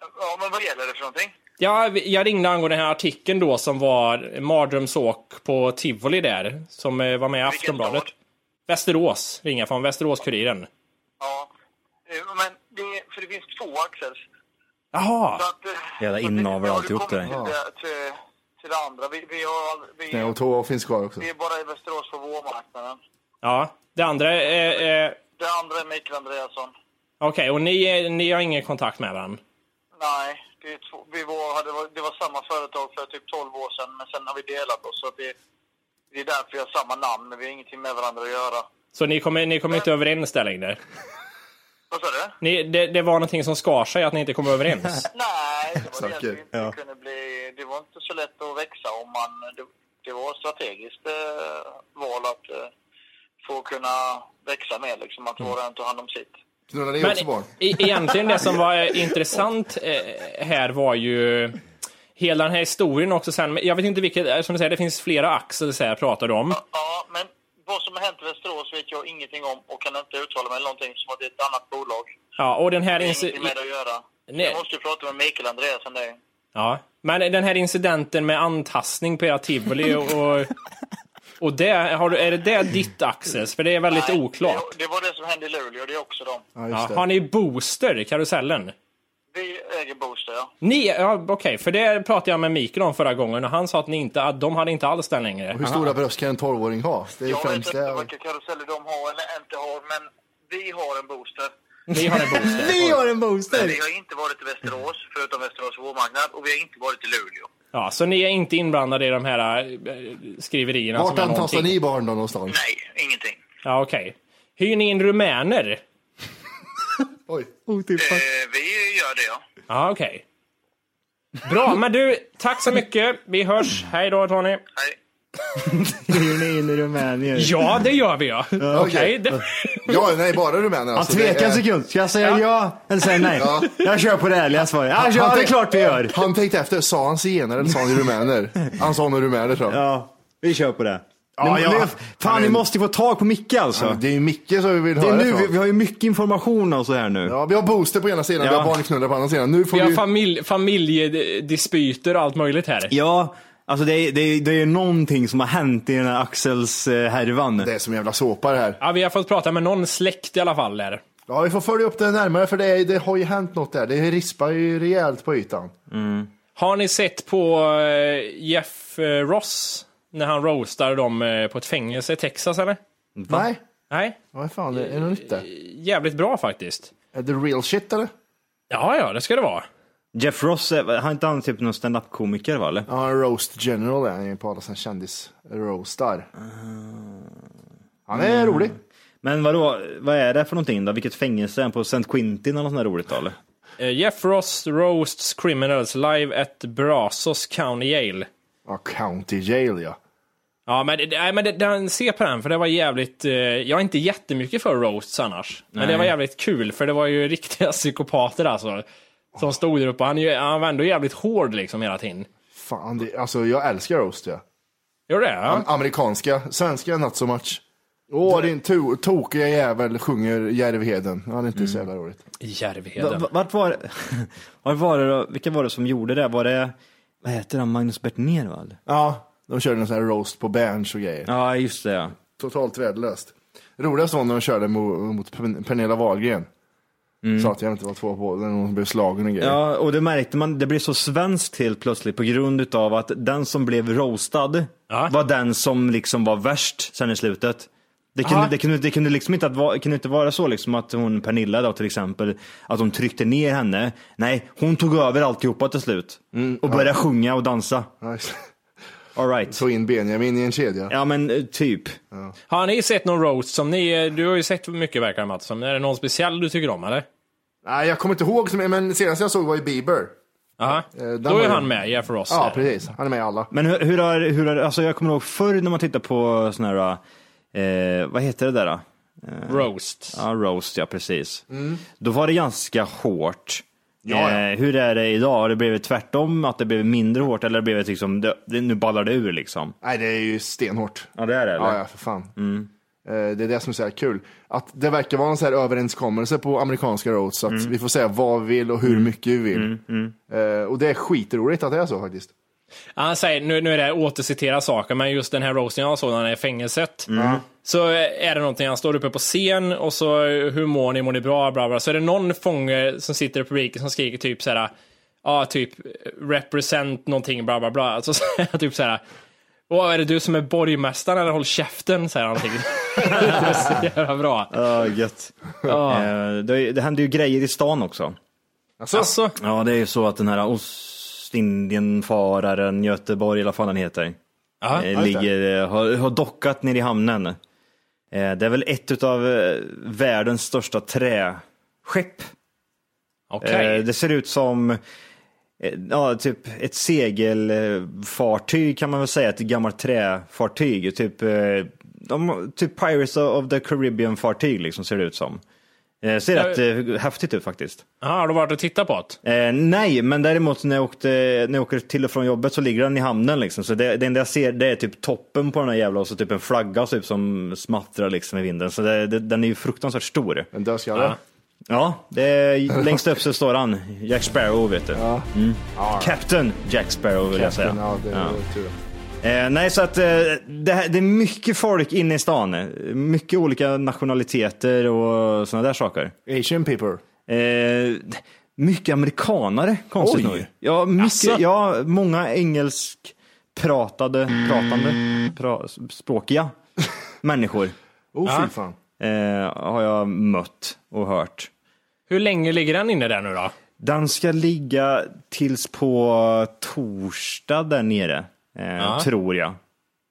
[SPEAKER 9] Ja, men vad gäller det för någonting?
[SPEAKER 3] Ja, vi- jag ringde angående den här artikeln då som var mardrömsåk på Tivoli där. Som eh, var med i
[SPEAKER 9] Vilken
[SPEAKER 3] Aftonbladet.
[SPEAKER 9] stad?
[SPEAKER 3] Västerås ringer jag från, Västerås-Kuriren.
[SPEAKER 9] Ja. Eh, Men det, för det finns två Axels.
[SPEAKER 3] Jaha!
[SPEAKER 9] Så att... eh,
[SPEAKER 6] Jävla
[SPEAKER 9] så
[SPEAKER 6] inavel
[SPEAKER 9] det-
[SPEAKER 6] alltihop
[SPEAKER 9] har du
[SPEAKER 6] där.
[SPEAKER 9] kommit Till, det- till, till det andra. Vi, vi, har,
[SPEAKER 2] Nej,
[SPEAKER 9] vi,
[SPEAKER 2] och två finns kvar också.
[SPEAKER 9] vi är bara i Västerås på vårmarknaden.
[SPEAKER 3] Ja, det andra är... Eh,
[SPEAKER 9] Det andra är Mikael Andreasson.
[SPEAKER 3] Okej, och ni, är- ni har ingen kontakt med varandra?
[SPEAKER 9] Nej, det, är två, vi var, hade, var- det var samma företag för typ 12 år sedan, men sen har vi delat oss. Så att det, det är därför vi har samma namn, men vi har ingenting med varandra att göra.
[SPEAKER 3] Så ni kommer, ni kommer inte överens där längre?
[SPEAKER 9] Vad sa du?
[SPEAKER 3] Ni, det, det var någonting som skar sig, att ni inte kom överens?
[SPEAKER 9] Nej, det var det att
[SPEAKER 2] Saker,
[SPEAKER 9] vi inte kunde bli... Det var inte så lätt att växa om man... Det, det var ett strategiskt eh, val att eh, få kunna växa med, liksom att var och en tog hand om sitt.
[SPEAKER 2] Knullar ni också barn?
[SPEAKER 3] Men e- egentligen det som var eh, intressant eh, här var ju hela den här historien också sen. men Jag vet inte vilket, eh, som du säger, det finns flera axel så här pratar om.
[SPEAKER 9] Ja, men vad som har hänt i Västerås vet jag ingenting om och kan inte uttala mig om någonting som att det är ett annat bolag.
[SPEAKER 3] Ja, och den här
[SPEAKER 9] Det har
[SPEAKER 3] inci-
[SPEAKER 9] ingenting med det att göra.
[SPEAKER 3] Nej.
[SPEAKER 9] Jag måste ju prata med Mikael Andreasson där.
[SPEAKER 3] ja, men den här incidenten med antastning på era tivoli och, och, och det, har du, är det det ditt axel? För det är väldigt
[SPEAKER 9] Nej,
[SPEAKER 3] oklart.
[SPEAKER 9] Det, det var det som hände i Luleå, det är också dem.
[SPEAKER 2] Ja,
[SPEAKER 3] Ja,
[SPEAKER 2] just det.
[SPEAKER 3] har ni booster, i karusellen?
[SPEAKER 9] Vi äger Booster, ja.
[SPEAKER 3] Ni, ja okej, för det pratade jag med Mikael om förra gången och han sa att ni inte, att de hade inte alls den längre.
[SPEAKER 2] Hur stora bröst kan en tolvåring ha? Det är ju
[SPEAKER 9] Jag vet
[SPEAKER 2] främst
[SPEAKER 9] inte
[SPEAKER 2] det.
[SPEAKER 9] vilka karuseller de har eller inte har, men vi har en Booster.
[SPEAKER 3] Ni har en booster.
[SPEAKER 6] Vi har en
[SPEAKER 9] Men
[SPEAKER 6] booster!
[SPEAKER 9] vi har inte varit i Västerås, förutom Västerås vårmarknad, och vi har inte varit i Luleå.
[SPEAKER 3] Ja, så ni är inte inblandade i de här eh, skriverierna
[SPEAKER 2] Vart
[SPEAKER 3] som är
[SPEAKER 2] antastar
[SPEAKER 3] någonting?
[SPEAKER 2] ni barn då någonstans?
[SPEAKER 9] Nej, ingenting.
[SPEAKER 3] Ja, okej. Hyr ni in rumäner?
[SPEAKER 2] Oj.
[SPEAKER 9] Eh, vi gör det, ja.
[SPEAKER 3] Ja, okej. Bra, men du, tack så mycket. Vi hörs. Hej då, Tony.
[SPEAKER 9] Hej.
[SPEAKER 6] Hyr ni in i Rumänien?
[SPEAKER 3] Ja, det gör vi ja. Okej. det-
[SPEAKER 2] Ja, nej, bara rumäner
[SPEAKER 6] Han
[SPEAKER 2] alltså.
[SPEAKER 6] tvekar en
[SPEAKER 2] Det är-
[SPEAKER 6] sekund. Ska jag säga ja, eller säga nej? Jag kör på det ärliga svaret. Ja, ja,
[SPEAKER 2] Han
[SPEAKER 6] det är
[SPEAKER 2] tänk-
[SPEAKER 6] klart vi gör.
[SPEAKER 2] Han tänkte efter, sa han zigenare eller sa han rumäner? Han sa nog rumäner tror jag.
[SPEAKER 6] Ja, vi kör på det.
[SPEAKER 2] Ja,
[SPEAKER 6] nu,
[SPEAKER 2] ja.
[SPEAKER 6] Nu, fan, vi
[SPEAKER 2] Men-
[SPEAKER 6] måste få tag på Micke alltså.
[SPEAKER 2] Ja, Det är ju Micke som vi vill
[SPEAKER 6] Det är
[SPEAKER 2] höra
[SPEAKER 6] nu, vi,
[SPEAKER 2] ifrån.
[SPEAKER 6] vi har ju mycket information alltså här nu.
[SPEAKER 2] Ja, vi har booster på ena sidan, vi
[SPEAKER 6] Ja.
[SPEAKER 2] har barnknullar på andra sidan. Nu får
[SPEAKER 3] Vi
[SPEAKER 2] vi...
[SPEAKER 3] har familj, familjedisputer och allt möjligt här.
[SPEAKER 6] Ja, alltså det är, det, är, det är någonting som har hänt i den här Axels eh, härvan.
[SPEAKER 2] Det är som jävla såpar här.
[SPEAKER 3] Ja, vi har fått prata med någon släkt i alla fall där.
[SPEAKER 2] Ja, vi får följa upp det närmare för det, är, det har ju hänt något där. Det rispar ju rejält på ytan.
[SPEAKER 3] Har ni sett på eh, Jeff eh, Ross när han roastar dem eh, på ett fängelse i Texas eller?
[SPEAKER 2] Nej,
[SPEAKER 3] Nej,
[SPEAKER 2] vad fan, är det något nytt där?
[SPEAKER 3] jävligt bra faktiskt.
[SPEAKER 2] Är det real shit eller?
[SPEAKER 3] Ja, ja, det ska det vara.
[SPEAKER 6] Jeff Ross, är- har inte han typ någon standup-komiker va? Eller?
[SPEAKER 2] Ja, roast general är han ju på alla sina kändis-roastar.
[SPEAKER 6] Ah.
[SPEAKER 2] Han är rolig.
[SPEAKER 6] Men vadå, vad är det för någonting då? Vilket fängelse är han på? St. Quentin eller något sånt där roligt då eller?
[SPEAKER 3] Eh, Jeff Ross roasts criminals live at Brazos County Yale.
[SPEAKER 2] Ja, county jail ja.
[SPEAKER 3] Ja, men, det- nej, men det, den, se på den, för det var jävligt... Eh, jag är inte jättemycket för roasts annars. Men det var jävligt kul, för det var ju riktiga psykopater alltså. Som stod där uppe. Han, är ju- han var ändå jävligt hård liksom hela tiden.
[SPEAKER 2] Fan, det, alltså jag älskar roast ja.
[SPEAKER 3] Gör det? Ja.
[SPEAKER 2] Amerikanska, svenska not so much. Åh, din to tokiga jävel, sjunger Järvheden. Ja, det är inte så jävla roligt.
[SPEAKER 3] Järvheden.
[SPEAKER 6] Va- Vart var det, vart var det då, vilka var det som gjorde det? Var det, vad heter han, Magnus Bertner väl?
[SPEAKER 2] Ja, de körde någon sån här roast på Berns och grejer.
[SPEAKER 6] Ja, just det ja.
[SPEAKER 2] Totalt värdelöst. Roligast var när de körde mo- mot Pen- Pernilla Wahlgren. Sa att jag inte var två på, när hon blev slagen och grejer.
[SPEAKER 6] Ja, och det märkte man, det blev så svenskt helt plötsligt på grund utav att den som blev roastad
[SPEAKER 3] Ja.
[SPEAKER 6] var den som liksom var värst sen i slutet. Det kunde,
[SPEAKER 3] Ja.
[SPEAKER 6] det kunde, det kunde liksom inte, att va, kunde inte vara så liksom att hon Pernilla då till exempel, att de tryckte ner henne. Nej, hon tog över alltihopa till slut och började sjunga och dansa.
[SPEAKER 2] Nice.
[SPEAKER 6] All right.
[SPEAKER 2] Så in Benjamin i en kedja.
[SPEAKER 6] Ja men eh, typ.
[SPEAKER 3] Har ni sett någon roast som ni, du har ju sett mycket verkar det Mats, som- är det någon speciell du tycker om eller?
[SPEAKER 2] Nej, jag kommer inte ihåg, som- men senast jag såg var ju Bieber.
[SPEAKER 3] Aha.
[SPEAKER 2] Eh, den
[SPEAKER 3] Då
[SPEAKER 2] var ju-
[SPEAKER 3] är han med, Jeff Ross.
[SPEAKER 2] Ja,
[SPEAKER 3] här.
[SPEAKER 2] precis. Han är med i alla.
[SPEAKER 6] Men hur, hur har, hur har, alltså jag kommer ihåg förr när man tittar på sådana här, eh, vad heter det där då?
[SPEAKER 3] Roast.
[SPEAKER 6] Ja, roast ja, precis. Då var det ganska hårt.
[SPEAKER 2] Ja, ja.
[SPEAKER 6] Eh, hur är det idag? Har det blivit tvärtom? Att det blev mindre hårt eller blev det liksom, det, det, nu ballar det ur liksom?
[SPEAKER 2] Nej, det är ju stenhårt.
[SPEAKER 6] Ja, det är det eller?
[SPEAKER 2] Ja, ja, för fan.
[SPEAKER 6] Mm.
[SPEAKER 2] Eh, Det är det som är så här kul. Att det verkar vara en så här överenskommelse på amerikanska roads, att
[SPEAKER 6] Mm.
[SPEAKER 2] vi får säga vad vi vill och hur mycket vi vill. Eh, Och det är skitroligt att det är så faktiskt.
[SPEAKER 3] Han säger, nu, nu är det här återcitera saker, men just den här roasten jag såg när han är i fängelset.
[SPEAKER 2] Mm.
[SPEAKER 3] Så är det någonting, han står uppe på scen och så hur mår ni, mår ni bra, bla bla. Så är det någon fånge som sitter i publiken som skriker typ så här, ja typ represent någonting, bla bla bla. Alltså, så här, typ så här, Åh, är det du som är borgmästaren eller håll käften, säger han någonting. det är så jävla bra.
[SPEAKER 6] Ja, gött. Eh, det, det händer ju grejer i stan också.
[SPEAKER 3] Alltså,
[SPEAKER 6] Ja, det är ju så att den här Ostindienfararen, Göteborg eller vad fan han heter,
[SPEAKER 3] ja.
[SPEAKER 6] eh, ligger, eh, har, har dockat nere i hamnen. Eh, det är väl ett av världens största träskepp.
[SPEAKER 3] okej.
[SPEAKER 6] Eh, Det ser ut som eh, ja, typ ett segelfartyg kan man väl säga, ett gammalt träfartyg. Typ, eh, de, typ Pirates of the Caribbean-fartyg liksom, ser det ut som. Eh, Ser
[SPEAKER 3] Ja,
[SPEAKER 6] rätt eh, häftigt ut faktiskt.
[SPEAKER 3] Jaha, har du varit och tittat på det?
[SPEAKER 6] Eh, nej, men däremot när jag, åkte, när jag åker till och från jobbet så ligger den i hamnen. Liksom. Så det, det enda jag ser det är typ toppen på den här jävla och så typ en flagga typ, som smattrar liksom, i vinden. Så det, det, den är ju fruktansvärt stor.
[SPEAKER 2] En dödskalle.
[SPEAKER 6] Ja, det är, längst upp så står han, Jack Sparrow vet du. Mm. Captain Jack Sparrow vill jag säga.
[SPEAKER 2] Ja, det är tur.
[SPEAKER 6] Eh, nej, så att eh, det, här, det är mycket folk inne i stan. eh, Mycket olika nationaliteter och sådana där saker.
[SPEAKER 2] Asian people.
[SPEAKER 6] Eh, mycket amerikanare, konstigt
[SPEAKER 2] Oj.
[SPEAKER 6] nog. Ja, mycket,
[SPEAKER 3] Asså?
[SPEAKER 6] ja, många engelskpratade,
[SPEAKER 2] Mm.
[SPEAKER 6] pratande, pra, språkiga människor
[SPEAKER 2] Oh, fy fan.
[SPEAKER 6] eh, har jag mött och hört.
[SPEAKER 3] Hur länge ligger den inne där nu då?
[SPEAKER 6] Den ska ligga tills på torsdag där nere, eh, tror jag.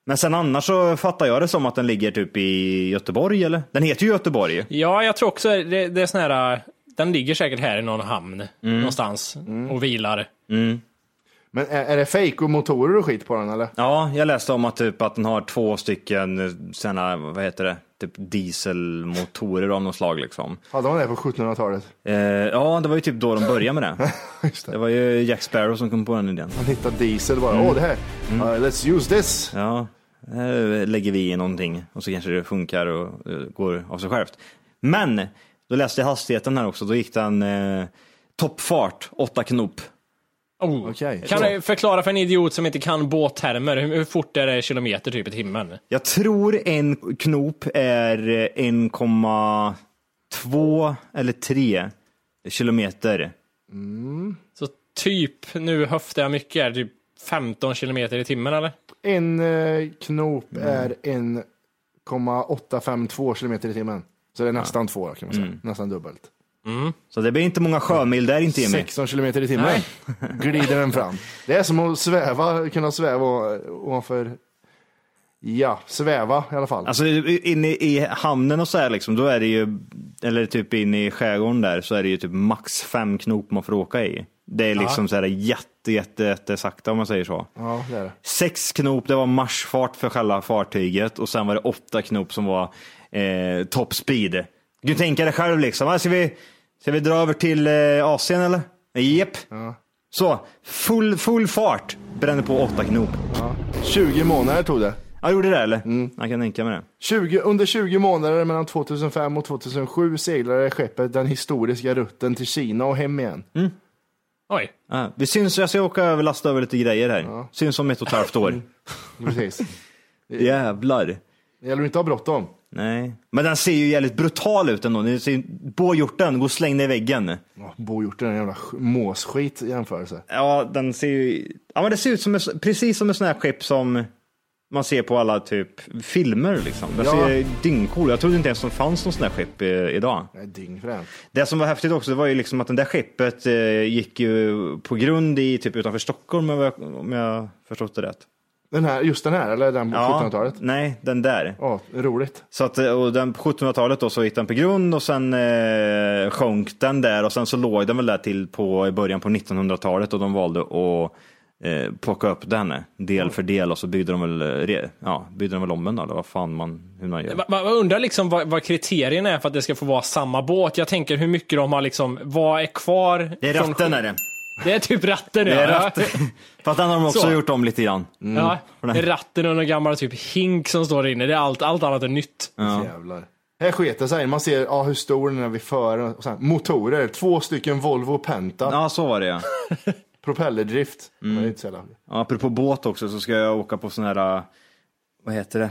[SPEAKER 6] Men sen annars så fattar jag det som att den ligger typ i Göteborg eller? Den heter ju Göteborg.
[SPEAKER 3] Ja, jag tror också det, det är sån här, den ligger säkert här i någon hamn
[SPEAKER 6] Mm.
[SPEAKER 3] någonstans och vilar.
[SPEAKER 2] Men är, är det fake och motorer och skit på den eller?
[SPEAKER 6] Ja, jag läste om att, typ, att den har två stycken eh, såna, vad heter det, typ dieselmotorer av något slag liksom.
[SPEAKER 2] Hade man det på 1700-talet?
[SPEAKER 6] Eh, ja, det var ju typ då de började med det.
[SPEAKER 2] Just
[SPEAKER 6] Det
[SPEAKER 2] det.
[SPEAKER 6] var ju Jack Sparrow som kom på den idén.
[SPEAKER 2] Man hittade diesel bara. Åh,
[SPEAKER 6] Mm.
[SPEAKER 2] det här. Uh, let's use this.
[SPEAKER 6] Ja, här lägger vi i någonting och så kanske det funkar och eh, går av sig självt. Men, då läste jag hastigheten här också, då gick den eh, toppfart, 8 knop.
[SPEAKER 3] Oh.
[SPEAKER 2] Okej.
[SPEAKER 3] Kan du förklara för en idiot som inte kan båttermer, hur, hur fort är det kilometer typ i timmen?
[SPEAKER 6] Jag tror en knop är eh, 1,2 eller 3 kilometer.
[SPEAKER 3] Så typ, nu höftar jag mycket, är det typ 15 kilometer i timmen eller?
[SPEAKER 2] En eh, knop
[SPEAKER 6] Mm.
[SPEAKER 2] är 1,852 kilometer i timmen. Så det är nästan två då, kan man säga.
[SPEAKER 6] Mm.
[SPEAKER 2] Nästan dubbelt.
[SPEAKER 6] Så det blir inte många sjömil där inte Jimmy.
[SPEAKER 2] 16 kilometer i timmen glider den fram. Det är som att sväva, kunna sväva o- ovanför. Ja, sväva i alla fall.
[SPEAKER 6] Alltså inne i hamnen och så här liksom, då är det ju, eller typ inne i skärgården där, så är det ju typ max fem knop man får åka i. Det är liksom så här jätte, jätte, jätte sakta om man säger så.
[SPEAKER 2] Ja, det är det.
[SPEAKER 6] Sex knop, det var marschfart för själva fartyget och sen var det åtta knop som var eh, top speed. Du kan tänka dig själv liksom, "Ah, ska vi, ska vi dra över till eh, Asien eller? Jep. Så, full, full fart brände på åtta knop.
[SPEAKER 2] 20 månader tog det.
[SPEAKER 6] Ja, gjorde det eller? Jag kan tänka mig det.
[SPEAKER 2] 20, under 20 månader mellan 2005 och 2007 seglade skeppet den historiska rutten till Kina och hem igen.
[SPEAKER 3] Oj.
[SPEAKER 6] Ja, vi syns, jag ska åka över, lasta över lite grejer här. Syns om ett och ett halvt år.
[SPEAKER 2] Precis.
[SPEAKER 6] Jävlar.
[SPEAKER 2] Det gäller att inte ha bråttom.
[SPEAKER 6] Nej. Men den ser ju jävligt brutal ut ändå. Den ser ju- Båhjorten, gå och släng den i väggen.
[SPEAKER 2] Ja, Bohjorten är en jävla sk- måsskit i jämförelse.
[SPEAKER 6] Ja, den ser ju... Ja, men det ser ut som en- precis som ett sånt här skepp som man ser på alla typ filmer liksom. Den
[SPEAKER 2] Ja.
[SPEAKER 6] ser dyngcool Jag trodde inte ens det fanns någon sån här skepp eh, idag.
[SPEAKER 2] Nej, dyngfränt.
[SPEAKER 6] Det som var häftigt också det var ju liksom att det där skeppet eh, gick ju på grund i typ utanför Stockholm om jag, om jag förstått det rätt.
[SPEAKER 2] Den här, just den här, eller den på 1700-talet?
[SPEAKER 6] Nej, den där.
[SPEAKER 2] Ja, roligt.
[SPEAKER 6] Så att, eh, och den på 1700-talet då så gick den på grund och sen eh, sjönk den där och sen så låg den väl där till på i början på 1900-talet och de valde att eh, plocka upp den del för del och så byggde de väl, eh, re, ja, byggde de väl om den då, eller vad fan man, hur man gör.
[SPEAKER 3] Va- va- Jag undrar liksom vad, vad kriterierna är för att det ska få vara samma båt. Jag tänker hur mycket de har liksom, vad är kvar?
[SPEAKER 6] Det är
[SPEAKER 3] från-
[SPEAKER 6] ratten är det.
[SPEAKER 3] Det är typ ratten
[SPEAKER 6] Det
[SPEAKER 3] ja.
[SPEAKER 6] är ratten. Fast den har de också
[SPEAKER 3] Så.
[SPEAKER 6] gjort om lite grann.
[SPEAKER 3] Ja, det är ratten och någon gammal typ hink som står där inne. Det är allt, allt annat är nytt.
[SPEAKER 2] Jävlar. Här sket det sig. Man ser ja, hur stor den är vid fören. Och sen, motorer, två stycken Volvo Penta.
[SPEAKER 6] Ja, så var det ja.
[SPEAKER 2] Propellerdrift. Men Det är inte så jävla...
[SPEAKER 6] Ja, Apropå båt också så ska jag åka på sån här, eh, vad heter det?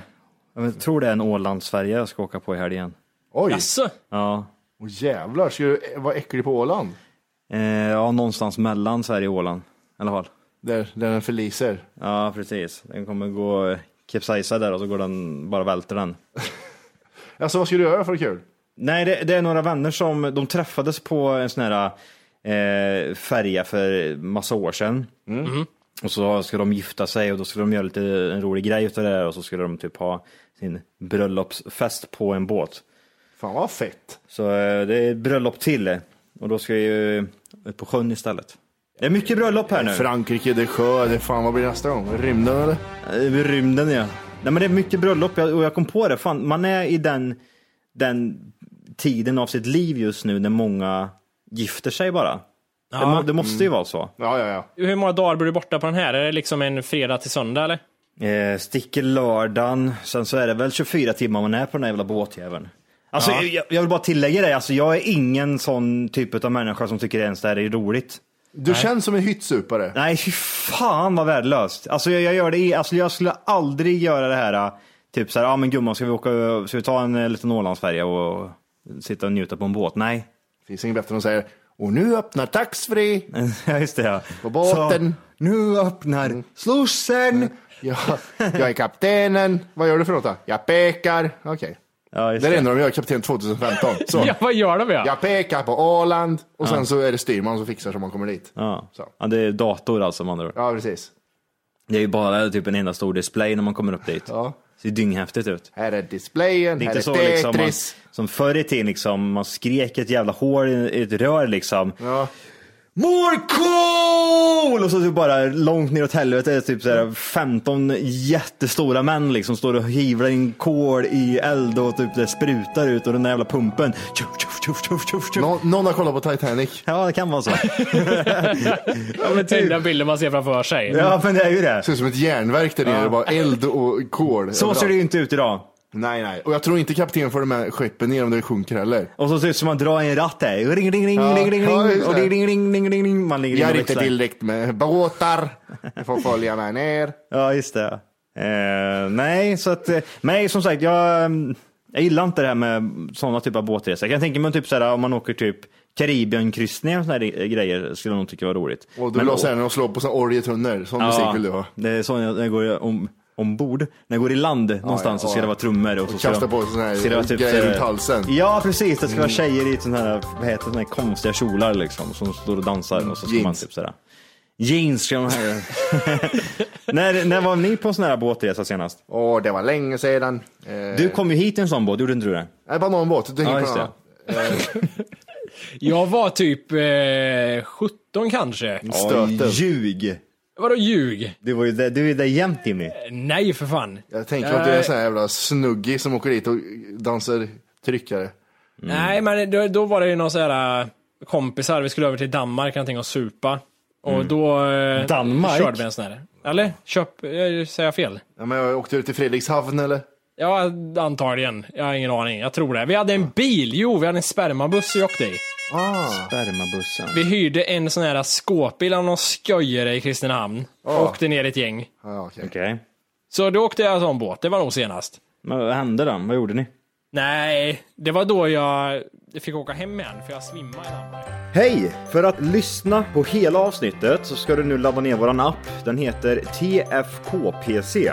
[SPEAKER 6] Jag tror det är en Ålandsfärja jag ska åka på i helgen.
[SPEAKER 2] Oj!
[SPEAKER 3] Jaså?
[SPEAKER 6] Ja.
[SPEAKER 2] Åh, jävlar, ska du vara äcklig på Åland?
[SPEAKER 6] Eh, ja, någonstans mellan Sverige och Åland i alla fall.
[SPEAKER 2] Där, där den förliser.
[SPEAKER 6] Ja, precis. Den kommer gå eh, kapsejsa där och så går den, bara välter den.
[SPEAKER 2] Alltså vad ska du göra för kul?
[SPEAKER 6] Nej, det, det är några vänner som, de träffades på en sån här eh, färja för massa år sedan. Och så ska de gifta sig och då skulle de göra lite en rolig grej utav det där och så skulle de typ ha sin bröllopsfest på en båt.
[SPEAKER 2] Fan vad fett.
[SPEAKER 6] Så eh, det är ett bröllop till eh, och då ska jag ju ut på sjön istället. Det är mycket bröllop här nu.
[SPEAKER 2] Frankrike, det är sjö, det är fan vad blir det nästa gång? Rymden eller?
[SPEAKER 6] Över Eh, rymden ja. Nej men det är mycket bröllop Jag- och jag kom på det, fan man är i den, den tiden av sitt liv just nu när många gifter sig bara. Det, må, det måste ju vara så.
[SPEAKER 2] Ja, ja, ja.
[SPEAKER 3] Hur många dagar blir du borta på den här? Är det liksom en fredag till söndag eller?
[SPEAKER 6] Eh, sticker lördagen, sen så är det väl 24 timmar man är på den här jävla båtjäveln. Alltså jag, jag vill bara tillägga det, alltså, jag är ingen sån typ av människa som tycker ens det här är roligt.
[SPEAKER 2] Du känns som en hyttsupare.
[SPEAKER 6] Nej, fy fan vad värdelöst. Alltså jag, jag gör det, i- alltså jag skulle aldrig göra det här, äh, typ så här, ja ah, men gumman ska vi åka, ska vi ta en eh, liten Ålandsfärja och sitta och njuta på en båt? Nej.
[SPEAKER 2] Finns inget bättre än att säga och nu öppnar taxfree.
[SPEAKER 6] Ja just det ja.
[SPEAKER 2] På båten. Mm.
[SPEAKER 6] Så, nu öppnar slussen.
[SPEAKER 2] Jag, jag är kaptenen. Vad gör du för något då? Jag pekar. Okej.
[SPEAKER 6] Ja, just
[SPEAKER 2] Det är det
[SPEAKER 6] det.
[SPEAKER 2] enda de gör, kapten 2015. Så.
[SPEAKER 3] Ja, vad gör de ja?
[SPEAKER 2] Jag pekar på Åland och sen så är det styrman som fixar så man kommer dit.
[SPEAKER 6] Ja.
[SPEAKER 2] Så.
[SPEAKER 6] ja, det är dator alltså man andra ord.
[SPEAKER 2] Ja, precis.
[SPEAKER 6] Det är ju bara typ en enda stor display när man kommer upp dit.
[SPEAKER 2] Ja.
[SPEAKER 6] Ser dynghäftigt ut.
[SPEAKER 2] Här är displayen,
[SPEAKER 6] Det är
[SPEAKER 2] här
[SPEAKER 6] inte
[SPEAKER 2] är Tetris.
[SPEAKER 6] så liksom man, som förr i tiden liksom, man skrek ett jävla hål i i ett rör liksom.
[SPEAKER 2] Ja.
[SPEAKER 6] More cool! Och så typ bara långt neråt helvete är typ såhär 15 jättestora män liksom står och hyvlar in kol i eld och typ det sprutar ut och den där jävla pumpen. Tjuff, tjuff, tjuff, tjuff, tjuff, tjuff.
[SPEAKER 2] Nå, någon har kollat på Titanic.
[SPEAKER 6] Ja, det kan vara så.
[SPEAKER 3] Ja, men tänk den bilden man ser framför sig.
[SPEAKER 6] ja, men det är ju det.
[SPEAKER 2] Det ser ut som ett järnverk där nere, bara eld och kol.
[SPEAKER 6] Så
[SPEAKER 2] överallt.
[SPEAKER 6] ser det ju inte ut idag.
[SPEAKER 2] Nej, nej. Och jag tror inte kapten får med skeppen ner om det sjunker heller.
[SPEAKER 6] Och så ser det ut som man drar i en ratt där. Ring, ring, ring,
[SPEAKER 2] Ja,
[SPEAKER 6] ring, ring,
[SPEAKER 2] ja, just
[SPEAKER 6] ring,
[SPEAKER 2] det.
[SPEAKER 6] och ring, ring, ring, ring, ring, ring. Man ligger in
[SPEAKER 2] Jag
[SPEAKER 6] och
[SPEAKER 2] är inte
[SPEAKER 6] växlar.
[SPEAKER 2] tillräckligt med båtar. Jag får följa med ner.
[SPEAKER 6] Ja, just det. Eh, nej, så att, eh, nej, som sagt, jag, mm, jag gillar inte det här med sådana typer av båtresor. Jag kan tänka mig typ så här, om man åker typ Karibienkryssningar och sådana grejer, skulle jag nog tycka var roligt.
[SPEAKER 2] Och du
[SPEAKER 6] Men-
[SPEAKER 2] vill ha såhär när de slår på såna orgetunnor. Sån musik vill du ha.
[SPEAKER 6] Det är sån jag, när jag går om, ombord, när jag går i land någonstans
[SPEAKER 2] ja,
[SPEAKER 6] så ska
[SPEAKER 2] ja.
[SPEAKER 6] det vara trummor. Och, så ska
[SPEAKER 2] kasta
[SPEAKER 6] de-
[SPEAKER 2] på sån här
[SPEAKER 6] ska det vara typ
[SPEAKER 2] grejer
[SPEAKER 6] så här-
[SPEAKER 2] runt halsen. Mm.
[SPEAKER 6] Ja, precis. Det ska vara tjejer i sån här, vad heter det, sån här konstiga kjolar liksom, som står och dansar. Och så ska man
[SPEAKER 2] Jeans.
[SPEAKER 6] typ sådär. Jeans ska de ha. när, när var ni på en sån här båtresa senast?
[SPEAKER 2] Åh, det var länge sedan. Eh,
[SPEAKER 6] Du kom ju hit i en sån båt, gjorde inte du det?
[SPEAKER 2] Nej, bara någon båt. Du tänker
[SPEAKER 6] Ja,
[SPEAKER 2] på
[SPEAKER 6] just
[SPEAKER 2] någon
[SPEAKER 6] det.
[SPEAKER 2] annan.
[SPEAKER 3] Jag var typ eh, 17 kanske.
[SPEAKER 2] Stöten.
[SPEAKER 6] Oj, Ljug!
[SPEAKER 3] Vadå ljug?
[SPEAKER 6] Du, var ju där, du är där jämt Timmy.
[SPEAKER 3] Nej för fan.
[SPEAKER 2] Jag tänker att du är en sån här jävla snuggig som åker dit och dansar tryckare.
[SPEAKER 3] Eh, Nej men då, då var det ju någon sån här äh, kompisar, vi skulle över till Danmark någonting och supa. Och då eh,
[SPEAKER 5] Danmark?
[SPEAKER 3] körde vi en sån här. Eller? Köp, jag säger fel?
[SPEAKER 2] Ja, men jag åkte ut till Fredrikshavn eller?
[SPEAKER 3] Ja, antagligen. Jag har ingen aning. Jag tror det. Vi hade en bil. Jo, vi hade en spermabuss vi åkte i.
[SPEAKER 6] Ah. Spermabussen.
[SPEAKER 3] Vi hyrde en sån här skåpbil av någon sköjare i Kristinehamn. Och åkte ner ett gäng.
[SPEAKER 2] Ja, okej.
[SPEAKER 6] Okej.
[SPEAKER 3] Så då åkte jag sån båt. Det var nog senast.
[SPEAKER 6] Men vad hände då? Vad gjorde ni?
[SPEAKER 3] Nej, det var då jag fick åka hem igen för jag svimmade i Danmark.
[SPEAKER 6] Hej! För att lyssna på hela avsnittet så ska du nu ladda ner våran app. Den heter TFKPC.